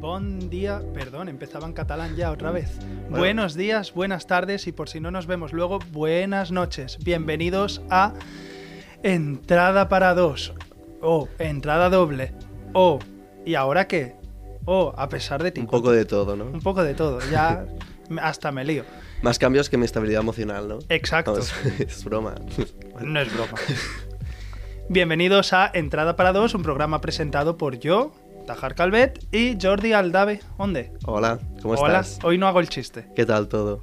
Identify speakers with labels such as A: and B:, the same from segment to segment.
A: Buen día, perdón, empezaba en catalán ya
B: Mm.
A: otra vez. Buenos días, buenas tardes y por si no nos vemos luego, buenas noches. Bienvenidos a Entrada para dos o Entrada doble o ¿y ahora qué? O a pesar de ti.
B: Un poco de todo, ¿no?
A: Un poco de todo, ya hasta me lío.
B: Más cambios que mi estabilidad emocional, ¿no?
A: Exacto.
B: No, es, es broma.
A: No es broma. Bienvenidos a Entrada para dos, un programa presentado por yo, Tajar Calvet y Jordi Aldave. ¿Dónde?
B: Hola, ¿cómo
A: Hola,
B: estás?
A: hoy no hago el chiste.
B: ¿Qué tal todo?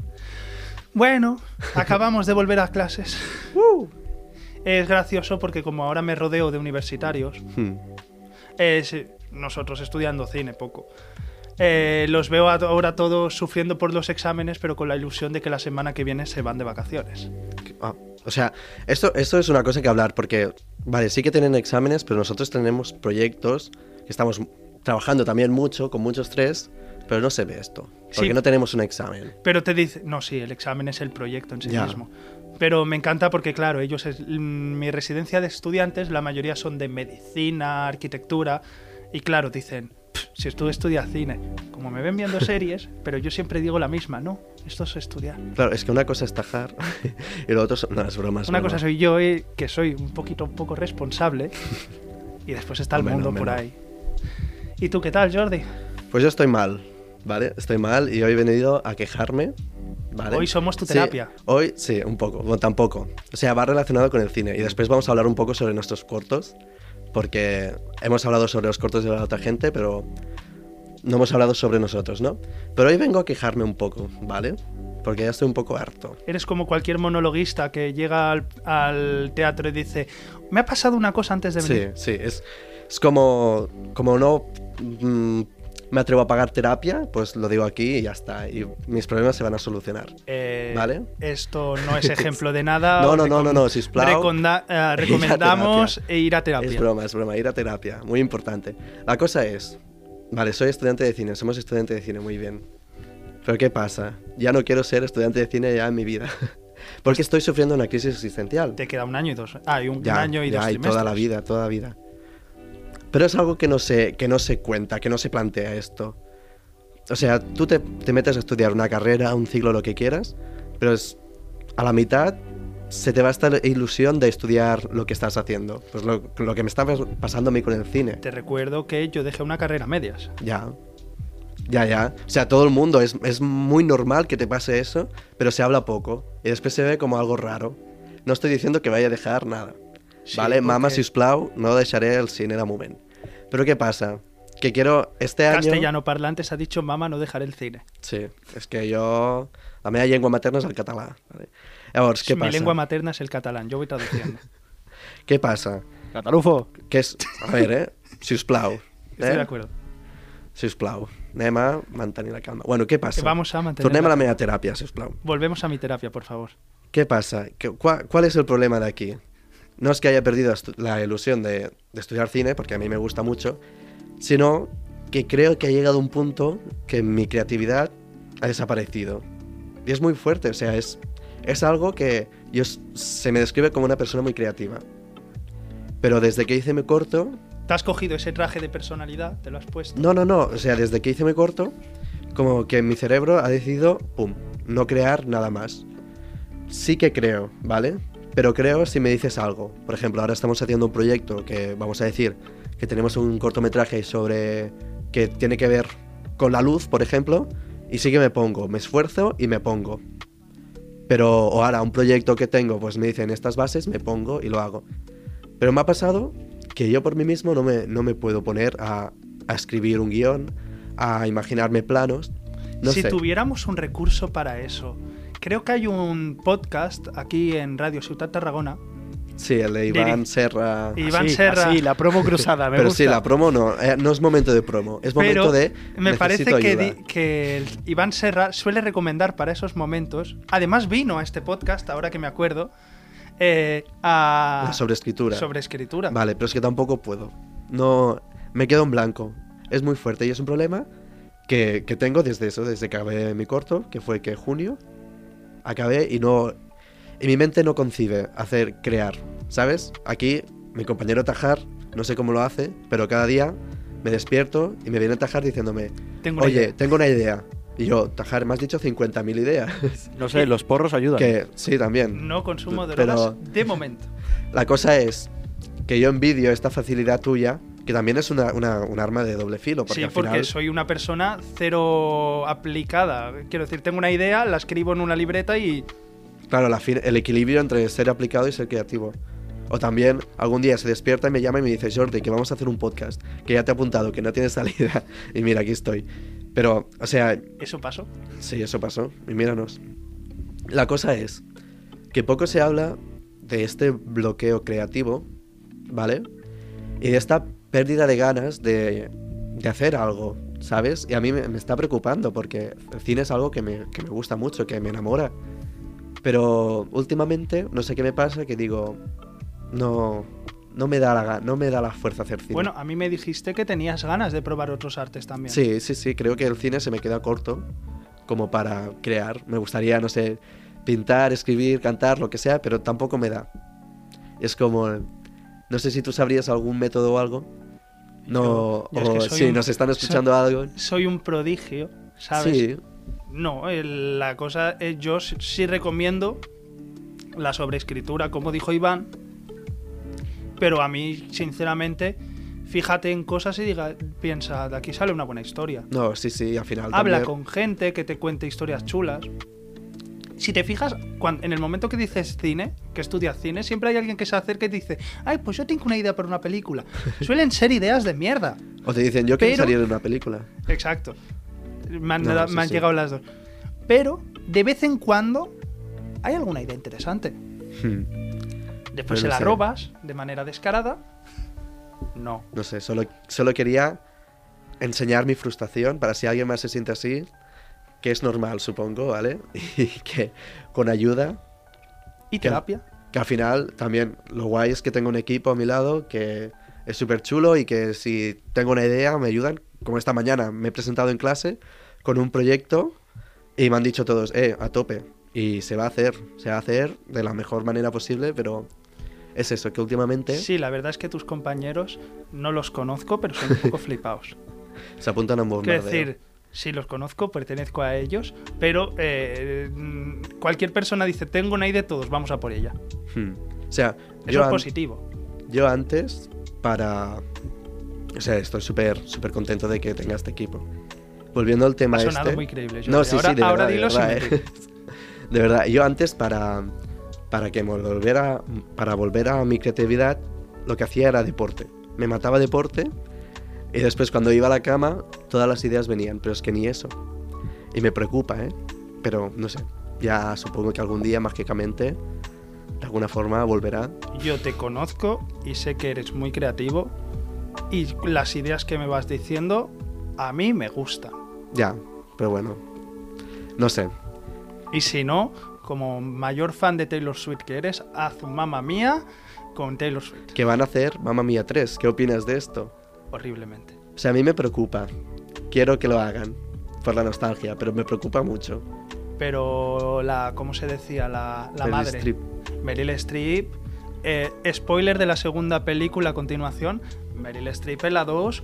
A: Bueno, acabamos de volver a clases. Es gracioso porque como ahora me rodeo de universitarios,
B: Hmm.
A: es, nosotros estudiando cine poco, eh, los veo a- ahora todos sufriendo por los exámenes, pero con la ilusión de que la semana que viene se van de vacaciones.
B: Ah, o sea, esto, esto es una cosa que hablar porque, vale, sí que tienen exámenes, pero nosotros tenemos proyectos que estamos trabajando también mucho, con mucho estrés, pero no se ve esto. Porque
A: Sí.
B: no tenemos un examen.
A: Pero te dice, no, sí, el examen es el proyecto en sí
B: Ya.
A: mismo. Pero me encanta porque, claro, ellos, es, mm, mi residencia de estudiantes, la mayoría son de medicina, arquitectura, y claro, dicen, "Pf, si tú estudias cine, como me ven viendo series, pero yo siempre digo la misma, no, esto es estudiar.
B: Claro, es que una cosa es tajar y lo otro son las bromas.
A: Una cosa soy yo, eh, que soy un poquito un poco responsable, y después está el
B: Hombre, no,
A: mundo
B: hombre,
A: por
B: no.
A: ahí. ¿Y tú qué tal, Jordi?
B: Pues yo estoy mal, ¿vale? Estoy mal y hoy he venido a quejarme, ¿vale?
A: Hoy somos tu
B: Sí,
A: terapia.
B: hoy sí, un poco, bueno, tampoco. O sea, va relacionado con el cine y después vamos a hablar un poco sobre nuestros cortos, porque hemos hablado sobre los cortos de la otra gente, pero no hemos hablado sobre nosotros, ¿no? Pero hoy vengo a quejarme un poco, ¿vale? Porque ya estoy un poco harto.
A: Eres como cualquier monologuista que llega al, al teatro y dice, me ha pasado una cosa antes de
B: Sí,
A: venir.
B: sí, es, es como, como no mm, me atrevo a pagar terapia, pues lo digo aquí y ya está, y mis problemas se van a solucionar.
A: Eh,
B: Vale.
A: Esto no es ejemplo de nada.
B: No, no, no,
A: Recom-
B: no, no, sisplau.
A: reconda- eh, recomendamos
B: terapia.
A: e ir a terapia.
B: Es broma, es broma, ir a terapia, muy importante. La cosa es, vale, soy estudiante de cine, somos estudiante de cine, muy bien. Pero ¿qué pasa? Ya no quiero ser estudiante de cine ya en mi vida. Porque estoy sufriendo una crisis existencial.
A: Te queda un año y dos. Ah, y un, un
B: Ya,
A: año y
B: ya,
A: dos
B: y
A: trimestres.
B: toda la vida, toda la vida. Pero es algo que no se, que no se cuenta, que no se plantea esto. O sea, tú te, te metes a estudiar una carrera, un ciclo, lo que quieras, pero es a la mitad se te va esta ilusión de estudiar lo que estás haciendo. Pues lo, lo que me está pas- pasando a mí con el cine.
A: Te recuerdo que yo dejé una carrera a medias.
B: Ya. Ya, ya. O sea, todo el mundo, es, es muy normal que te pase eso, pero se habla poco. Y después se ve como algo raro. No estoy diciendo que vaya a dejar nada.
A: Sí,
B: vale, mama,
A: porque
B: si us plau, no deixaré el cine de moment. Però què passa? Que quiero este año...
A: Castellano parlantes ha dicho, mamá, no dejaré el cine.
B: Sí, és que jo... La meva llengua materna és el català. Vale? Llavors, què
A: Mi
B: passa?
A: lengua materna es el catalán, yo voy traduciendo.
B: Què passa?
A: Catalufo.
B: Que és... A veure, eh? Si us plau.
A: Estoy de
B: Eh?
A: acuerdo.
B: Si us plau. Anem a mantenir la calma. Bueno, què passa?
A: Vamos a mantener
B: Tornem
A: la-
B: a la meva teràpia, si us plau.
A: Volvemos a mi terapia, por favor.
B: ¿Qué pasa? ¿Qué- cua- ¿Cuál es el problema de aquí? No es que haya perdido estu- la ilusión de, de estudiar cine, porque a mí me gusta mucho, sino que creo que ha llegado un punto que mi creatividad ha desaparecido. Y es muy fuerte, o sea, es, es algo que yo, s- se me describe como una persona muy creativa. Pero desde que hice mi corto,
A: Te has cogido ese traje de personalidad, te lo has puesto.
B: no, no, no. O sea, desde que hice mi corto, como que mi cerebro ha decidido, pum, no crear nada más. Sí que creo, ¿vale? Pero creo si me dices algo. Por ejemplo, ahora estamos haciendo un proyecto que, vamos a decir, que tenemos un cortometraje sobre. que tiene que ver con la luz, por ejemplo, y sí que me pongo, me esfuerzo y me pongo. Pero, o ahora, un proyecto que tengo, pues me dicen estas bases, me pongo y lo hago. Pero me ha pasado que yo por mí mismo no me, no me puedo poner a, a escribir un guión, a imaginarme planos. No
A: si
B: sé.
A: tuviéramos un recurso para eso. Creo que hay un podcast aquí en Radio Ciutat Tarragona
B: Sí, el de Iván
A: Diri.
B: Serra.
A: Y- Iván
C: Así,
A: Serra.
C: así, ah, la promo cruzada, me
B: Pero
C: gusta.
B: sí, la promo no. eh, no es momento de promo. Es momento
A: Pero
B: de.
A: me
B: necesito
A: parece que,
B: ayuda.
A: di- que el Iván Serra suele recomendar para esos momentos, además vino a este podcast, ahora que me acuerdo, eh, a...
B: La sobreescritura.
A: sobreescritura.
B: Vale, pero es que tampoco puedo. No. Me quedo en blanco. Es muy fuerte y es un problema que, que tengo desde eso, desde que acabé mi corto, que fue que junio. Acabé y no. Y mi mente no concibe hacer crear, ¿sabes? Aquí, mi compañero Tajar, no sé cómo lo hace, pero cada día me despierto y me viene Tajar diciéndome:
A: Tengo una
B: Oye,
A: idea.
B: tengo una idea. Y yo, Tajar, me has dicho 50.000 ideas.
C: No sé, los porros ayudan.
B: que
C: ¿eh?
B: sí, también.
A: no consumo
B: pero-
A: drogas de momento.
B: La cosa es que yo envidio esta facilidad tuya, que también es una, una- un arma de doble filo. Porque
A: sí,
B: al
A: porque
B: final,
A: soy una persona cero aplicada. Quiero decir, tengo una idea, la escribo en una libreta y
B: Claro, la fi- el equilibrio entre ser aplicado y ser creativo. O también algún día se despierta y me llama y me dice, Jordi, que vamos a hacer un podcast, que ya te he apuntado, que no tienes salida. Y mira, aquí estoy. Pero, o sea,
A: eso pasó.
B: Sí, eso pasó. Y míranos. La cosa es que poco se habla de este bloqueo creativo, ¿vale? Y de esta pérdida de ganas de, de hacer algo, ¿sabes? Y a mí me, me está preocupando porque el cine es algo que me, que me gusta mucho, que me enamora. Pero últimamente, no sé qué me pasa, que digo, no, no, me, da la, ga- no me da la fuerza hacer cine.
A: Bueno, a mí me dijiste que tenías ganas de probar otros artes también.
B: Sí, sí, sí, creo que el cine se me queda corto como para crear. Me gustaría, no sé, pintar, escribir, cantar, lo que sea, pero tampoco me da. Es como, no sé si tú sabrías algún método o algo. No,
A: Yo- yo es que
B: o
A: soy
B: si
A: un-
B: nos están
A: soy-
B: escuchando algo.
A: Soy un prodigio, ¿sabes?
B: Sí,
A: No, eh, la cosa es, yo s- sí recomiendo la sobreescritura, como dijo Iván, pero a mí, sinceramente, fíjate en cosas y diga, piensa, de aquí sale una buena historia.
B: no, sí, sí, al final.
A: Habla
B: también-
A: con gente que te cuente historias chulas. Si te fijas, cuan- en el momento que dices cine, que estudias cine, siempre hay alguien que se acerca y te dice, ay, pues yo tengo una idea para una película. Suelen ser ideas de mierda.
B: O te dicen, yo quiero
A: Pero-
B: salir en una película.
A: Exacto. Me han,
B: No,
A: dado-
B: sí,
A: me han
B: sí.
A: llegado las dos. Pero, de vez en cuando, hay alguna idea interesante.
B: Hmm,
A: Después
B: Puede
A: se la
B: ser.
A: robas de manera descarada. No.
B: No sé, solo, solo quería enseñar mi frustración para si alguien más se siente así, que es normal, supongo, ¿vale? Y que con ayuda
A: ¿Y
B: ¿Qué?
A: terapia?
B: Que al final también lo guay es que tengo un equipo a mi lado que es súper chulo y que si tengo una idea me ayudan. Como esta mañana me he presentado en clase con un proyecto y me han dicho todos, eh, a tope. Y se va a hacer, se va a hacer de la mejor manera posible, pero es eso, que últimamente
A: Sí, la verdad es que tus compañeros no los conozco, pero son un poco flipados.
B: se apuntan a un
A: Quiero
B: bombardeo.
A: decir, sí los conozco, pertenezco a ellos, pero eh, mm, cualquier persona dice, tengo una idea, todos vamos a por ella.
B: Hmm. O sea,
A: Eso
B: yo
A: es
B: an-
A: positivo.
B: Yo antes, para... O sea, estoy súper, súper contento de que tenga este equipo. Volviendo al tema
A: Ha sonado
B: este...
A: muy creíble.
B: No,
A: Jordi.
B: sí,
A: eh, ahora,
B: sí, de
A: ahora
B: verdad, de
A: dilo sin
B: verdad,
A: mentir.
B: ¿eh? De verdad, yo antes para, para que me volviera, para volver a mi creatividad, lo que hacía era deporte. Me mataba deporte y después cuando iba a la cama todas las ideas venían, pero es que ni eso. Y me preocupa, ¿eh? Pero no sé, ya supongo que algún día mágicamente, de alguna forma volverá.
A: Yo te conozco y sé que eres muy creativo y las ideas que me vas diciendo a mí me gustan.
B: Ya, pero bueno, no sé.
A: Y si no, como mayor fan de Taylor Swift que eres, haz un mamá mía con Taylor Swift.
B: ¿Qué van a hacer Mamma Mía 3? ¿Qué opinas de esto?
A: Horriblemente.
B: O sea, a mí me preocupa. Quiero que lo hagan por la nostalgia, pero me preocupa mucho.
A: Pero la, ¿cómo se decía? La, la
B: Meryl
A: madre.
B: Streep.
A: Meryl Streep. Eh, spoiler de la segunda película a continuación. Meryl Streep en la 2.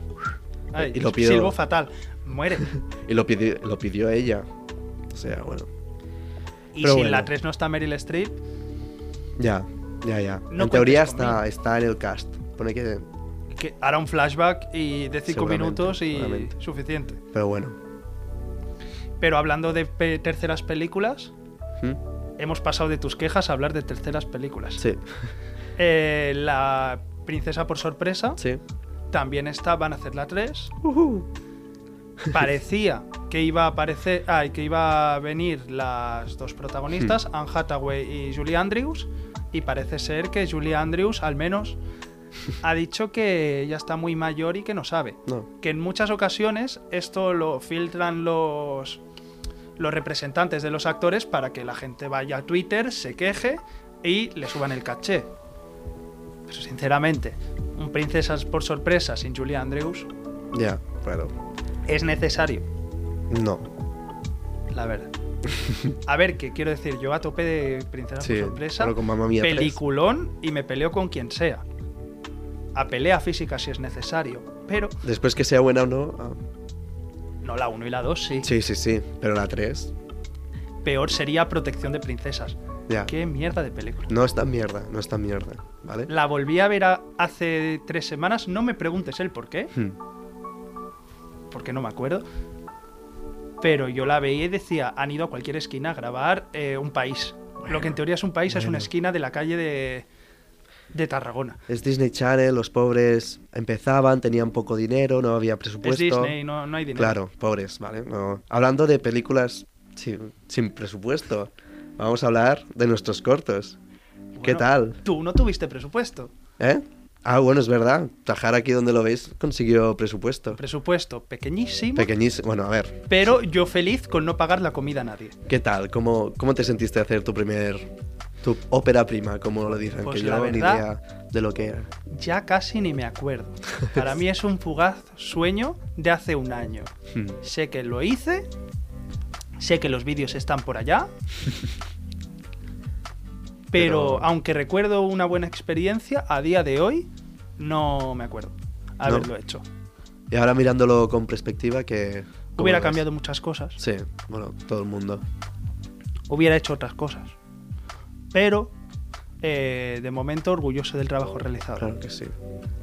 A: Ay,
B: Y lo pido.
A: Silbo fatal. Muere.
B: Y lo pidió, lo pidió ella. O sea, bueno.
A: Y
B: Pero
A: si en
B: bueno.
A: la 3 no está Meryl Streep,
B: Ya, ya, ya.
A: No
B: en teoría
A: cuentes conmigo.
B: está, está en el cast. Pone que.
A: que hará un flashback y de 5
B: Seguramente,
A: minutos y
B: seguramente.
A: suficiente.
B: Pero bueno.
A: Pero hablando de pe- terceras películas,
B: ¿Mm?
A: hemos pasado de tus quejas a hablar de terceras películas.
B: Sí,
A: Eh, la Princesa por sorpresa
B: sí.
A: también está, van a hacer la 3. Parecía que iba a aparecer, ay, que iba a venir las dos protagonistas, Anne Hathaway y Julie Andrews. Y parece ser que Julie Andrews, al menos, ha dicho que ya está muy mayor y que no sabe.
B: No.
A: Que en muchas ocasiones esto lo filtran los, los representantes de los actores para que la gente vaya a Twitter, se queje y le suban el caché. Pero sinceramente, un Princesas por sorpresa sin Julie Andrews
B: Ya, claro.
A: es necesario.
B: No.
A: La verdad. A ver, que quiero decir, yo a tope de Princesa
B: Sí,
A: por Sorpresa,
B: claro, con Mamma Mía tres.
A: peliculón y me peleo con quien sea. A pelea física si es necesario, pero
B: Después que sea buena o no. ah.
A: no la 1 y la 2 sí.
B: Sí, sí, sí. Pero la 3.
A: Peor sería Protección de Princesas.
B: Ya.
A: Qué mierda de película.
B: No es tan mierda, no es tan mierda, ¿vale?
A: La volví a ver a- hace tres semanas, no me preguntes el por qué,
B: Hmm.
A: porque no me acuerdo. Pero yo la veía y decía, han ido a cualquier esquina a grabar eh, un país. Lo que en teoría es un país es una
B: Bueno.
A: esquina de la calle de, de Tarragona.
B: Es Disney Channel, los pobres empezaban, tenían poco dinero, no había
A: Es
B: presupuesto.
A: Disney, no, no hay dinero.
B: Claro, pobres, ¿vale? No. Hablando de películas sin, sin presupuesto, vamos a hablar de nuestros cortos. ¿Qué
A: Bueno,
B: tal?
A: Tú no tuviste presupuesto.
B: ¿Eh? Ah, bueno, es verdad. Tajar aquí donde lo veis consiguió presupuesto.
A: Presupuesto pequeñísimo,
B: Pequeñísimo. Bueno, a ver,
A: pero yo feliz con no pagar la comida a nadie.
B: ¿qué tal? ¿Cómo, cómo te sentiste hacer tu primer. tu ópera prima, como lo dicen?
A: Pues
B: que
A: la
B: yo ni
A: verdad-
B: idea de lo que era.
A: Ya casi ni me acuerdo. Para mí es un fugaz sueño de hace un año.
B: Hmm.
A: Sé que lo hice, sé que los vídeos están por allá, pero,
B: Pero-
A: aunque recuerdo una buena experiencia, a día de hoy no me acuerdo haberlo hecho.
B: Y ahora mirándolo con perspectiva, que. ¿cómo
A: Hubiera
B: lo ves?
A: cambiado muchas cosas.
B: Sí, bueno, todo el mundo.
A: hubiera hecho otras cosas. Pero, eh, de momento, orgulloso del trabajo realizado.
B: Claro que sí.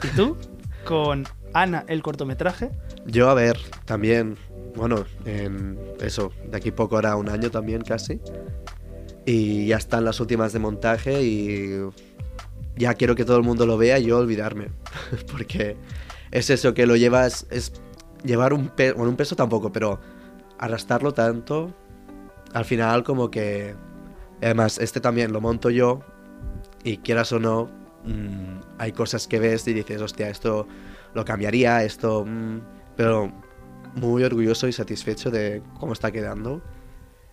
A: ¿Y tú? Con Ana, el cortometraje.
B: Yo, a ver, también, bueno, en eso, de aquí poco hará un año también casi. Y ya están las últimas de montaje y ya quiero que todo el mundo lo vea y yo olvidarme. Porque es eso que lo llevas, es llevar un peso, bueno, un peso tampoco, pero arrastrarlo tanto, al final como que... Además, este también lo monto yo y quieras o no, mm, hay cosas que ves y dices, hostia, esto lo cambiaría, esto... mm", pero muy orgulloso y satisfecho de cómo está quedando.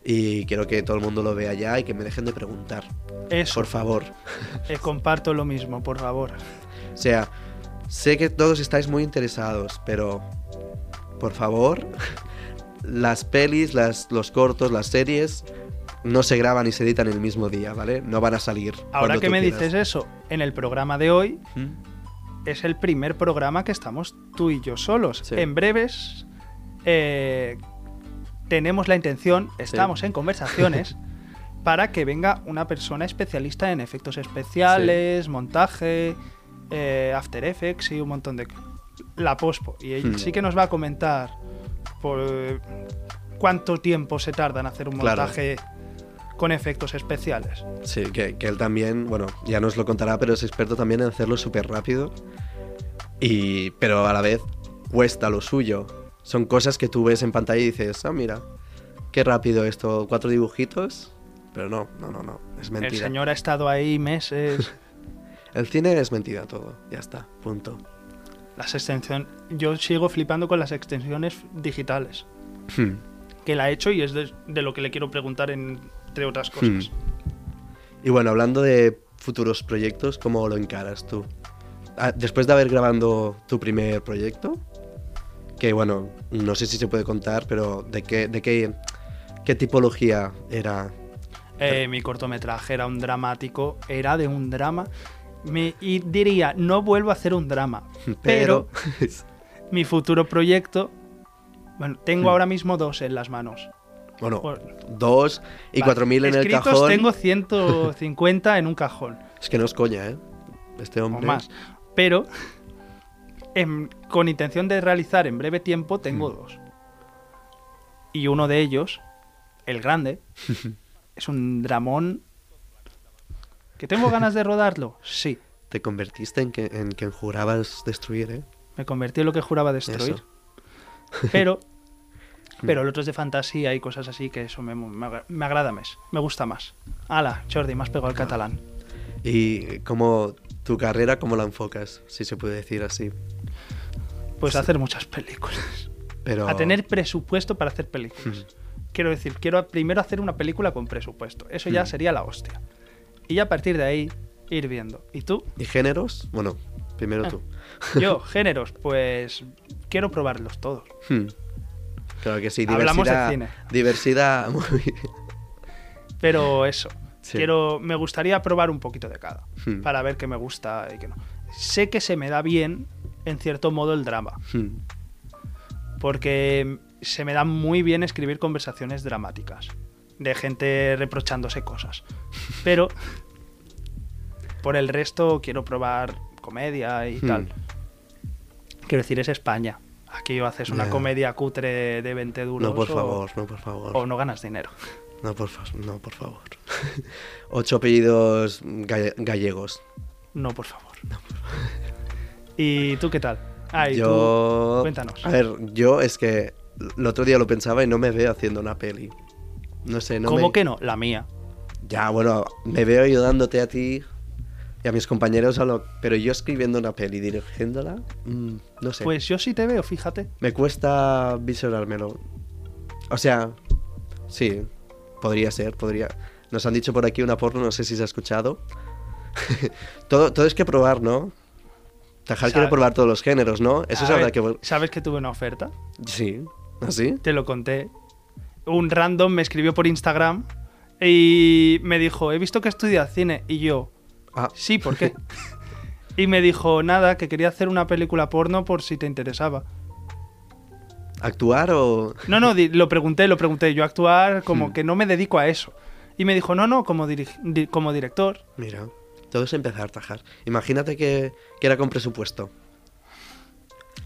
B: Y quiero que todo el mundo lo vea ya y que me dejen de preguntar,
A: Eso,
B: por favor.
A: eh, comparto lo mismo, por favor.
B: O sea, sé que todos estáis muy interesados, pero por favor, las pelis, las, los cortos, las series no se graban y se editan el mismo día, ¿vale? No van a salir.
A: Ahora
B: cuando
A: que
B: tú
A: me
B: quieras.
A: dices eso, en el programa de hoy
B: ¿Mm?
A: es el primer programa que estamos tú y yo solos.
B: Sí.
A: En breves eh, tenemos la intención, estamos en conversaciones, para que venga una persona especialista en efectos especiales, montaje, eh, After Effects y un montón de... La pospo. Y él
B: Hmm.
A: sí que nos va a comentar por cuánto tiempo se tarda en hacer un
B: Claro.
A: montaje con efectos especiales.
B: Sí, que, que él también, bueno, ya nos lo contará, pero es experto también en hacerlo súper rápido. Y, pero a la vez cuesta lo suyo. Son cosas que tú ves en pantalla y dices, ah, mira, qué rápido esto, cuatro dibujitos. Pero no, no, no, no, es mentira.
A: El señor ha estado ahí meses.
B: El cine es mentira todo, ya está, punto.
A: Las extensiones. Yo sigo flipando con las extensiones digitales.
B: Hmm.
A: Que la he hecho y es de, de lo que le quiero preguntar, en- entre otras cosas.
B: Hmm. Y bueno, hablando de futuros proyectos, ¿cómo lo encaras tú? Ah, Después de haber grabado tu primer proyecto, que bueno, no sé si se puede contar, pero ¿de qué, de qué, qué tipología era?
A: Eh, mi cortometraje era un dramático, era de un drama. Me, y diría, no vuelvo a hacer un drama. Pero,
B: Pero,
A: mi futuro proyecto. Bueno, tengo
B: Hmm.
A: ahora mismo dos en las manos.
B: bueno,
A: Por-
B: dos y
A: Vale,
B: cuatro mil en el
A: escritos
B: cajón.
A: Tengo 150 en un cajón.
B: Es que no es coña, ¿eh? Este
A: o
B: hombre.
A: más. Pero em, con intención de realizar en breve tiempo tengo
B: Hmm.
A: dos. Y uno de ellos, el grande, es un dramón. ¿Que tengo ganas de rodarlo? Sí.
B: Te convertiste en, que, en quien jurabas destruir, ¿eh?
A: Me convertí en lo que juraba destruir.
B: Eso.
A: Pero, pero el otro es de fantasía y cosas así que eso me, me agra- me agrada más. Me gusta más. Ala, Jordi, me has pegado al catalán.
B: y cómo tu carrera, cómo la enfocas, si se puede decir así.
A: Pues a hacer muchas películas.
B: Pero...
A: A tener presupuesto para hacer
B: Hmm.
A: películas. Quiero decir, quiero primero hacer una película con presupuesto. Eso ya
B: Mm.
A: sería la hostia. Y ya a partir de ahí ir viendo. ¿Y tú?
B: ¿Y géneros? Bueno, primero
A: Ah.
B: tú.
A: Yo, géneros, pues quiero probarlos todos.
B: Hmm. Claro que sí, diversidad.
A: Hablamos de cine.
B: Diversidad. muy-
A: Pero eso,
B: Sí.
A: quiero, me gustaría probar un poquito de cada.
B: Hmm.
A: Para ver qué me gusta y qué no. Sé que se me da bien, en cierto modo, el drama.
B: Hmm.
A: porque se me da muy bien escribir conversaciones dramáticas de gente reprochándose cosas. Pero por el resto quiero probar comedia y
B: Hmm.
A: tal. Quiero decir, es España. Aquí o haces una
B: Ya.
A: comedia cutre de 20 duros
B: No, por
A: o-
B: favor, no, por favor.
A: o no ganas dinero.
B: No, por, fa- no, por favor. Ocho apellidos galle- gallegos.
A: No, por favor. ¿Y tú qué tal? Ah, y
B: yo.
A: tú, cuéntanos.
B: A ver, yo es que el otro día lo pensaba y no me veo haciendo una peli. No sé, no
A: ¿Cómo
B: me-
A: que no? La mía.
B: Ya, bueno, me veo ayudándote a ti y a mis compañeros a lo. Pero yo escribiendo una peli, dirigiéndola, mm, no sé.
A: Pues yo sí te veo, fíjate.
B: Me cuesta visionármelo. O sea, sí, podría ser, podría. Nos han dicho por aquí una porno, no sé si se ha escuchado. todo, todo es que probar, ¿no? Tajal
A: Sabe-
B: quiere probar todos los géneros, ¿no?
A: A
B: Eso es habrá
A: ver,
B: que. vol-
A: ¿Sabes que tuve una oferta?
B: Sí, ¿así?
A: te lo conté. Un random me escribió por Instagram y me dijo, he visto que estudias cine. Y yo,
B: Ah,
A: sí, ¿por qué? y me dijo, nada, que quería hacer una película porno por si te interesaba.
B: ¿actuar o.?
A: No, no, di- lo pregunté, lo pregunté. Yo actuar como
B: Hmm.
A: que no me dedico a eso. Y me dijo, no, no, como, dirij- di- como director.
B: Mira, todo es empezar, Tajar. Imagínate que, que era con presupuesto.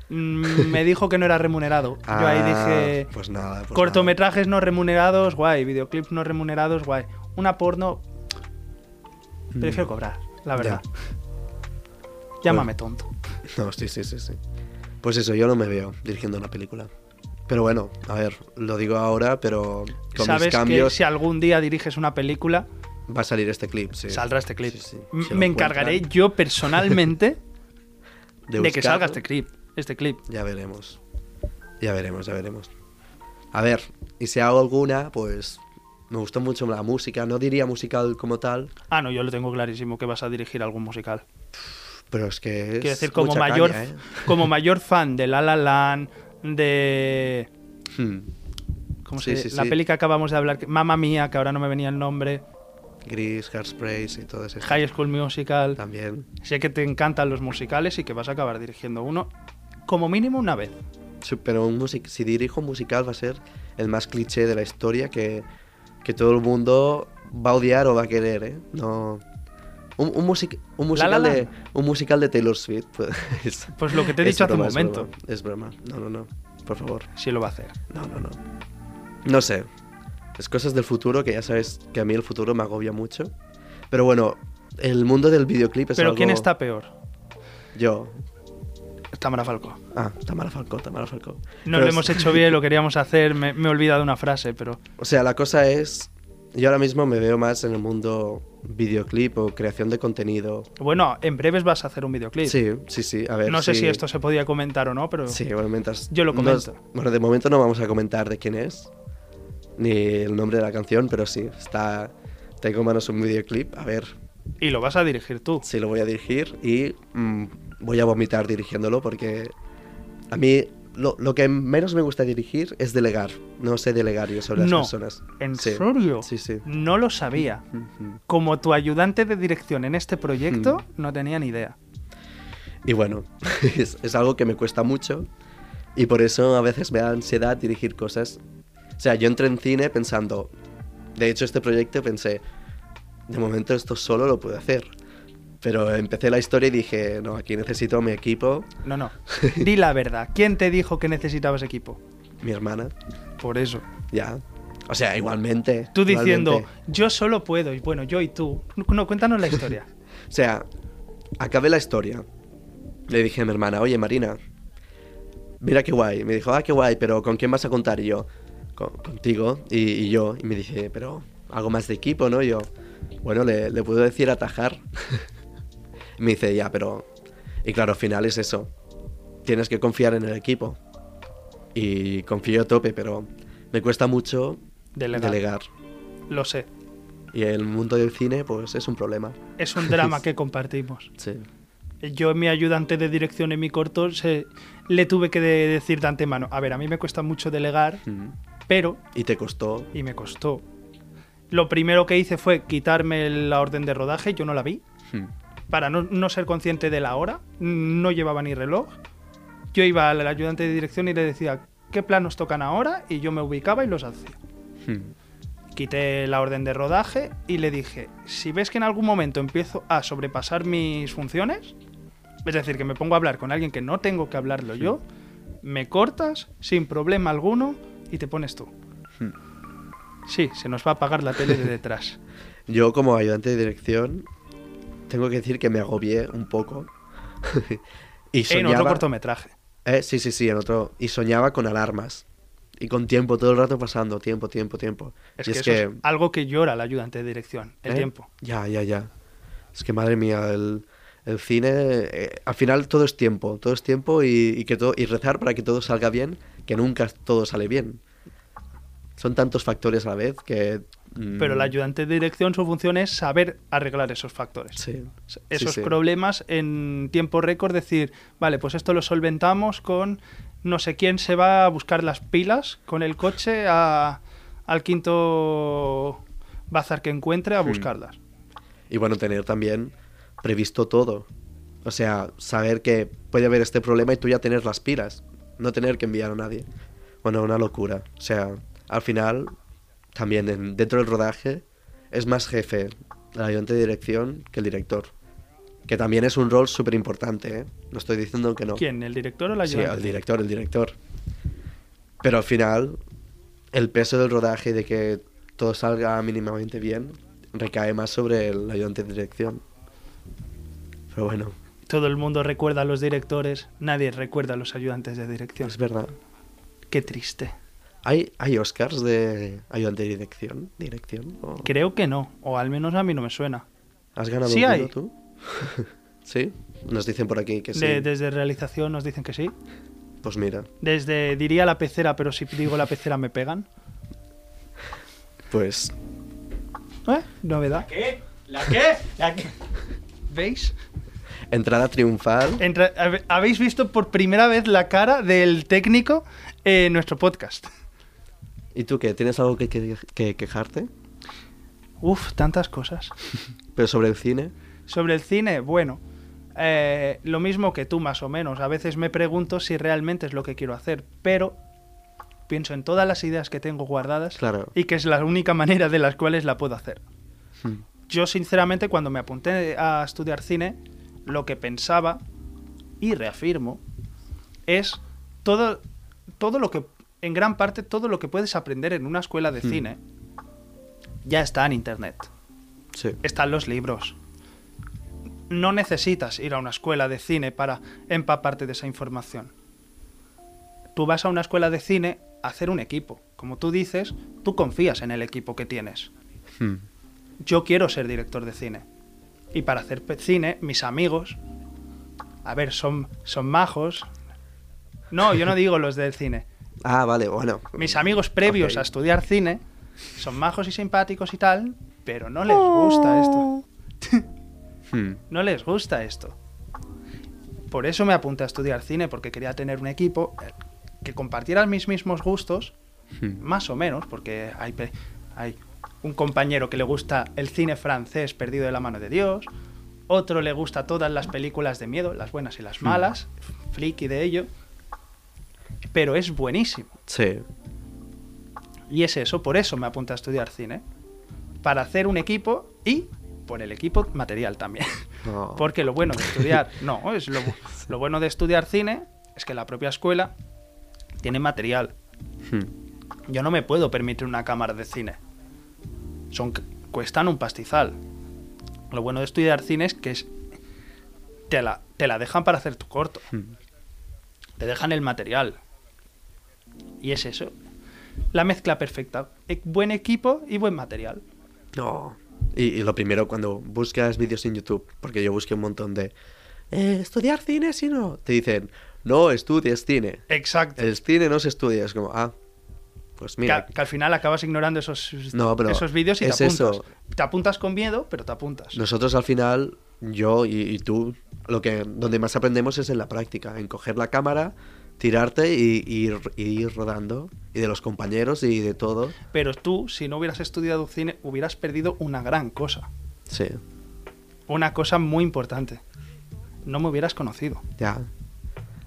A: Mm, me dijo que no era remunerado. yo ahí dije,
B: Pues nada. pues
A: cortometrajes no remunerados, guay. Videoclips no remunerados, guay. Una porno,
B: nada.
A: prefiero
B: Mm.
A: cobrar, la verdad.
B: Ya. Pues,
A: Llámame tonto.
B: No, sí, sí, sí, sí. Pues eso, yo no me veo dirigiendo una película. Pero bueno, a ver, lo digo ahora, pero con
A: sabes
B: mis cambios
A: que si algún día diriges una película,
B: va a salir este clip, sí.
A: saldrá este clip.
B: Sí, sí.
A: M-
B: Si lo
A: Me
B: encuentran,
A: encargaré yo personalmente de, que
B: buscarlo.
A: salga este clip. Este clip.
B: Ya veremos. Ya veremos, ya veremos. A ver, y si hago alguna, pues me gustó mucho la música. No diría musical como tal,
A: Ah, no, yo lo tengo clarísimo que vas a dirigir algún musical.
B: pero es que es
A: Quiero decir, como
B: mucha
A: mayor,
B: caña, ¿eh?
A: como mayor fan de La La Land, de
B: Hmm.
A: ¿cómo se
B: Sí,
A: dice?
B: sí,
A: la
B: sí.
A: peli que acabamos de hablar, que- Mamma Mía, que ahora no me venía el nombre,
B: Gris, Hairsprays y todo eso.
A: High School Musical.
B: También.
A: Sé que te encantan los musicales y que vas a acabar dirigiendo uno como mínimo una vez.
B: Sí, pero un music si dirijo un musical va a ser el más cliché de la historia que, que todo el mundo va a odiar o va a querer, ¿eh? No... Un, un, music un, musical,
A: La La
B: de,
A: Land.
B: un musical de Taylor Swift. Pues, es-
A: Pues lo que te he
B: es
A: dicho hace un
B: broma, es
A: momento.
B: broma, Es broma. No, no, no. Por favor.
A: Sí lo va a hacer.
B: No, no, no. No sé. Es cosas del futuro que ya sabes que a mí el futuro me agobia mucho. Pero bueno, el mundo del videoclip es
A: Pero ¿quién
B: Pues algo-
A: está peor?
B: Yo.
A: Tamara Falco.
B: Ah, Tamara Falcó, Tamara Falcó.
A: No
B: Pero
A: lo
B: es-
A: hemos hecho bien, lo queríamos hacer, me, me he olvidado una frase, pero
B: O sea, la cosa es, yo ahora mismo me veo más en el mundo videoclip o creación de contenido.
A: bueno, en breves vas a hacer un videoclip.
B: Sí, sí, sí. A ver.
A: no sé si esto se podía comentar o no, pero
B: Sí, bueno, mientras.
A: Yo lo
B: no-
A: comento.
B: bueno, de momento no vamos a comentar de quién es ni el nombre de la canción, pero sí está. Tengo en manos un videoclip. A ver
A: y lo vas a dirigir tú.
B: si lo voy a dirigir y mm, voy a vomitar dirigiéndolo porque a mí lo, lo que menos me gusta dirigir es delegar. No sé delegar yo sobre las
A: No.
B: personas.
A: ¿En
B: Sí.
A: serio?
B: Sí, sí.
A: No lo sabía.
B: Ujú.
A: Como tu ayudante de dirección en este
B: Mm.
A: proyecto, no tenía ni idea.
B: Y bueno, es, es algo que me cuesta mucho y por eso a veces me da ansiedad dirigir cosas. O sea, yo entré en cine pensando, de hecho este proyecto pensé, de momento esto solo lo puedo hacer. Pero empecé la historia y dije, no, aquí necesito a mi equipo,
A: No, no. Di la verdad. ¿Quién te dijo que necesitabas equipo?
B: mi hermana,
A: Por eso.
B: ya. O sea, igualmente.
A: Tú
B: igualmente.
A: diciendo, yo solo puedo, y bueno, yo y tú. No, cuéntanos la historia.
B: O sea, acabé la historia. Le dije a mi hermana, oye Marina, mira qué guay. Me dijo, ah, qué guay, pero ¿con quién vas a contar? Y yo, "Con- contigo y, y yo. Y me dije, pero algo más de equipo, ¿no? Yo, bueno, le, le puedo decir atajar. me dice, ya, pero... Y claro, al final es eso. Tienes que confiar en el equipo. Y confío a tope, pero me cuesta mucho
A: Delegar.
B: delegar.
A: Lo sé.
B: Y el mundo del cine, pues es un problema.
A: Es un drama que compartimos.
B: Sí.
A: Yo, mi ayudante de dirección en mi corto, se- le tuve que de- decir de antemano: A ver, a mí me cuesta mucho delegar,
B: Mm.
A: pero
B: Y te costó.
A: y me costó. Lo primero que hice fue quitarme la orden de rodaje, yo no la vi,
B: Mm.
A: para no, no ser consciente de la hora, no llevaba ni reloj. Yo iba al ayudante de dirección y le decía qué planos tocan ahora y yo me ubicaba y los hacía.
B: Mm.
A: Quité la orden de rodaje y le dije, si ves que en algún momento empiezo a sobrepasar mis funciones, es decir, que me pongo a hablar con alguien que no tengo que hablarlo yo, me cortas sin problema alguno y te pones tú.
B: Hmm.
A: Sí, se nos va a apagar la tele de detrás.
B: Yo como ayudante de dirección tengo que decir que me agobié un poco. y
A: en otro
B: soñaba-
A: cortometraje.
B: Eh, sí, sí, sí, en otro. Y soñaba con alarmas. Y con tiempo, todo el rato pasando, tiempo, tiempo, tiempo.
A: Es
B: y
A: que eso es algo que llora el ayudante de dirección, el
B: ¿eh?
A: tiempo.
B: Ya, ya, ya. Es que madre mía, el, el cine, eh, al final todo es tiempo, todo es tiempo y, y que todo, y rezar para que todo salga bien, que nunca todo sale bien. Son tantos factores a la vez que... mm,
A: Pero el ayudante de dirección, su función es saber arreglar esos factores.
B: Sí. sí,
A: Esos
B: sí.
A: problemas en tiempo récord, decir, vale, pues esto lo solventamos con no sé quién se va a buscar las pilas con el coche a- al quinto bazar que encuentre
B: Hmm.
A: a buscarlas.
B: Y bueno, tener también previsto todo. O sea, saber que puede haber este problema y tú ya tener las pilas. No tener que enviar a nadie. Bueno, una locura. O sea, al final, también en- dentro del rodaje, es más jefe el ayudante de dirección que el director. Que también es un rol súper importante, ¿eh? No estoy diciendo que no.
A: ¿Quién? ¿El director o el
B: Sí,
A: ayudante?
B: el director, el director. Pero al final, el peso del rodaje y de que todo salga mínimamente bien recae más sobre el ayudante de dirección. Pero bueno,
A: Todo el mundo recuerda a los directores, nadie recuerda a los ayudantes de dirección.
B: es verdad.
A: Qué triste.
B: ¿Hay, hay Oscars de ayudante de dirección? ¿Dirección? ¿O
A: Creo que no, o al menos a mí no me suena.
B: ¿Has ganado
A: Sí
B: alguno
A: hay.
B: tú? sí, nos dicen por aquí que sí.
A: De- desde realización nos dicen que sí.
B: Pues mira,
A: Desde diría la pecera, pero si digo la pecera me pegan.
B: pues
A: ¿Eh? Novedad.
D: ¿Qué? ¿La qué? ¿La qué?
A: ¿Veis?
B: entrada triunfal.
A: Entra- habe- Habéis visto por primera vez la cara del técnico en nuestro podcast.
B: ¿Y tú qué? ¿Tienes algo que- que- que quejarte?
A: Uf, tantas cosas.
B: ¿Pero sobre el cine?
A: Sobre el cine, bueno, eh, lo mismo que tú más o menos. A veces me pregunto si realmente es lo que quiero hacer, pero pienso en todas las ideas que tengo guardadas
B: Claro.
A: y que es la única manera de las cuales la puedo hacer. Yo sinceramente cuando me apunté a estudiar cine, lo que pensaba y reafirmo es todo, todo lo que, en gran parte, todo lo que puedes aprender en una escuela de cine ya está en Internet
B: Sí.
A: están los libros. No necesitas ir a una escuela de cine para empaparte de esa información. Tú vas a una escuela de cine a hacer un equipo. Como tú dices, tú confías en el equipo que tienes.
B: Hmm.
A: Yo quiero ser director de cine. Y para hacer pe- cine, mis amigos, a ver, son, son majos. No, yo no digo los del cine.
B: Ah, vale, bueno.
A: Mis amigos previos
B: Ok.
A: a estudiar cine son majos y simpáticos y tal, pero no les gusta esto.
B: Oh. Hmm.
A: No les gusta esto. Por eso me apunté a estudiar cine, porque quería tener un equipo eh, que compartiera mis mismos gustos,
B: Hmm.
A: más o menos, porque hay, pe- hay un compañero que le gusta el cine francés perdido de la mano de Dios, otro le gusta todas las películas de miedo, las buenas y las
B: Hmm.
A: malas, friki de ello, pero es buenísimo.
B: Sí.
A: Y es eso, por eso me apunté a estudiar cine, para hacer un equipo y por el equipo material también.
B: No.
A: Porque lo bueno de estudiar, no, es lo, bu- lo bueno de estudiar cine es que la propia escuela tiene material.
B: Hmm.
A: Yo no me puedo permitir una cámara de cine. Son c- cuestan un pastizal. Lo bueno de estudiar cine es que es- te la te la dejan para hacer tu corto.
B: Hmm.
A: Te dejan el material. Y es eso. La mezcla perfecta, e- buen equipo y buen material.
B: No. Y, y lo primero cuando buscas vídeos en YouTube, porque yo busqué un montón de... "Eh, estudiar cine, si no. Te dicen, no estudies cine.
A: Exacto.
B: El cine no se estudia. Es como, ah, pues Eh, mira.
A: que, que al final acabas ignorando esos,
B: No, pero
A: esos vídeos y
B: es
A: te apuntas.
B: eso.
A: Te apuntas con miedo, pero te apuntas.
B: Nosotros al final, yo y, y tú, lo que donde más aprendemos es en la práctica, en coger la cámara, tirarte y, y ir- y ir rodando, y de los compañeros y de todo.
A: Pero tú, si no hubieras estudiado cine, hubieras perdido una gran cosa.
B: Sí,
A: Una cosa muy importante. No me hubieras conocido.
B: ya.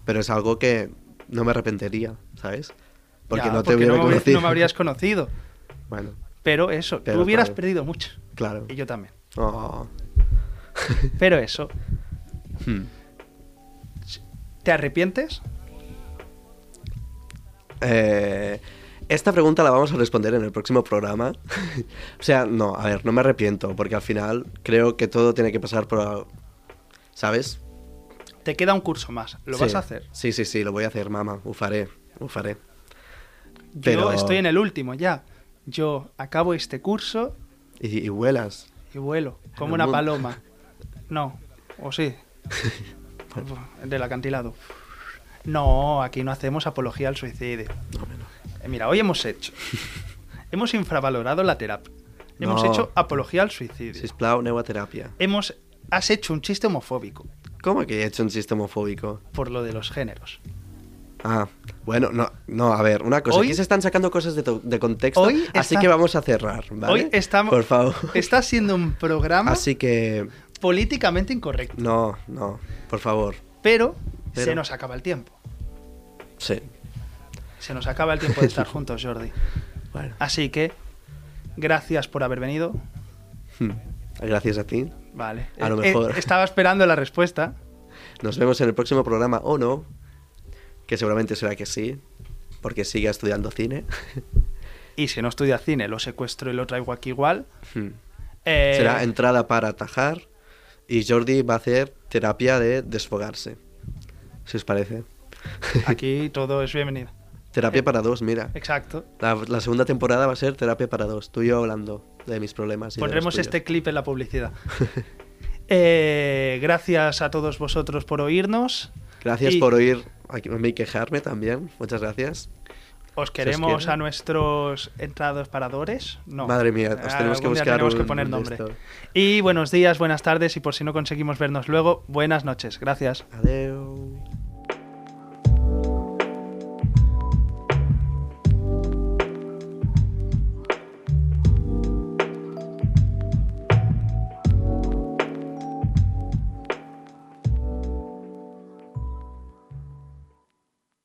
B: Pero es algo que no me arrepentiría, ¿sabes? Porque
A: Ya,
B: no te hubiera
A: me, habría-
B: conocido.
A: no me habrías conocido.
B: Bueno,
A: Pero eso,
B: Pero
A: tú hubieras
B: claro.
A: perdido mucho.
B: claro.
A: Y yo también.
B: Oh.
A: Pero eso,
B: Hmm.
A: ¿te arrepientes?
B: Eh, esta pregunta la vamos a responder en el próximo programa. o sea, no, a ver, no me arrepiento, porque al final creo que todo tiene que pasar por... ¿Sabes?
A: Te queda un curso más. ¿Lo
B: Sí.
A: vas a hacer?
B: Sí, sí, sí, lo voy a hacer, mamá. Ufaré, ufaré. Pero...
A: Yo estoy en el último ya. Yo acabo este curso
B: Y, y vuelas.
A: y vuelo como
B: el
A: una
B: mundo.
A: paloma. No, o sí. Del acantilado. No, aquí no hacemos apología al suicidio. Eh, Mira, hoy hemos hecho. Hemos infravalorado la terapia. Hemos
B: No.
A: hecho apología al suicidio.
B: Sisplau, neuaterapia.
A: Hemos, has hecho un chiste homofóbico
B: ¿Cómo que he hecho un sistema homofóbico?
A: por lo de los géneros.
B: Ah, bueno, no, no, a ver, una cosa.
A: Hoy-
B: Aquí se están sacando cosas de, to- de contexto,
A: Hoy
B: así
A: está-
B: que vamos a cerrar, ¿vale?
A: Hoy estamos.
B: Por favor.
A: Está siendo un programa
B: Así que...
A: políticamente incorrecto.
B: No, no, por favor.
A: Pero,
B: Pero-
A: se nos acaba el tiempo.
B: Sí.
A: Se nos acaba el tiempo de estar juntos, Jordi.
B: Bueno,
A: Así que, gracias por haber venido.
B: hmm, gracias a ti.
A: Vale.
B: A lo
A: Eh,
B: mejor.
A: eh, estaba esperando la respuesta.
B: Nos vemos en el próximo programa o no, que seguramente será que sí, porque sigue estudiando cine.
A: Y si no estudia cine, lo secuestro y lo traigo aquí igual.
B: Hmm.
A: Eh,
B: Será entrada para atajar y Jordi va a hacer terapia de desfogarse. Si os parece.
A: Aquí todo es bienvenido. Eh.
B: Terapia para dos, mira.
A: Exacto.
B: La, la segunda temporada va a ser terapia para dos. Tú y yo hablando de mis problemas. y de los
A: Pondremos
B: tuyos.
A: este clip en la publicidad. Eh, gracias a todos vosotros por oírnos.
B: Gracias
A: y-
B: por oír a mí quejarme también. Muchas gracias.
A: Os
B: quiere.
A: queremos a nuestros entrados paradores. No.
B: Madre mía, os
A: Ah,
B: tenemos que
A: algún día
B: buscar.
A: tenemos que
B: un
A: poner
B: de
A: nombre.
B: esto.
A: Y buenos días, buenas tardes y por si no conseguimos vernos luego, buenas noches. Gracias.
B: Adeu.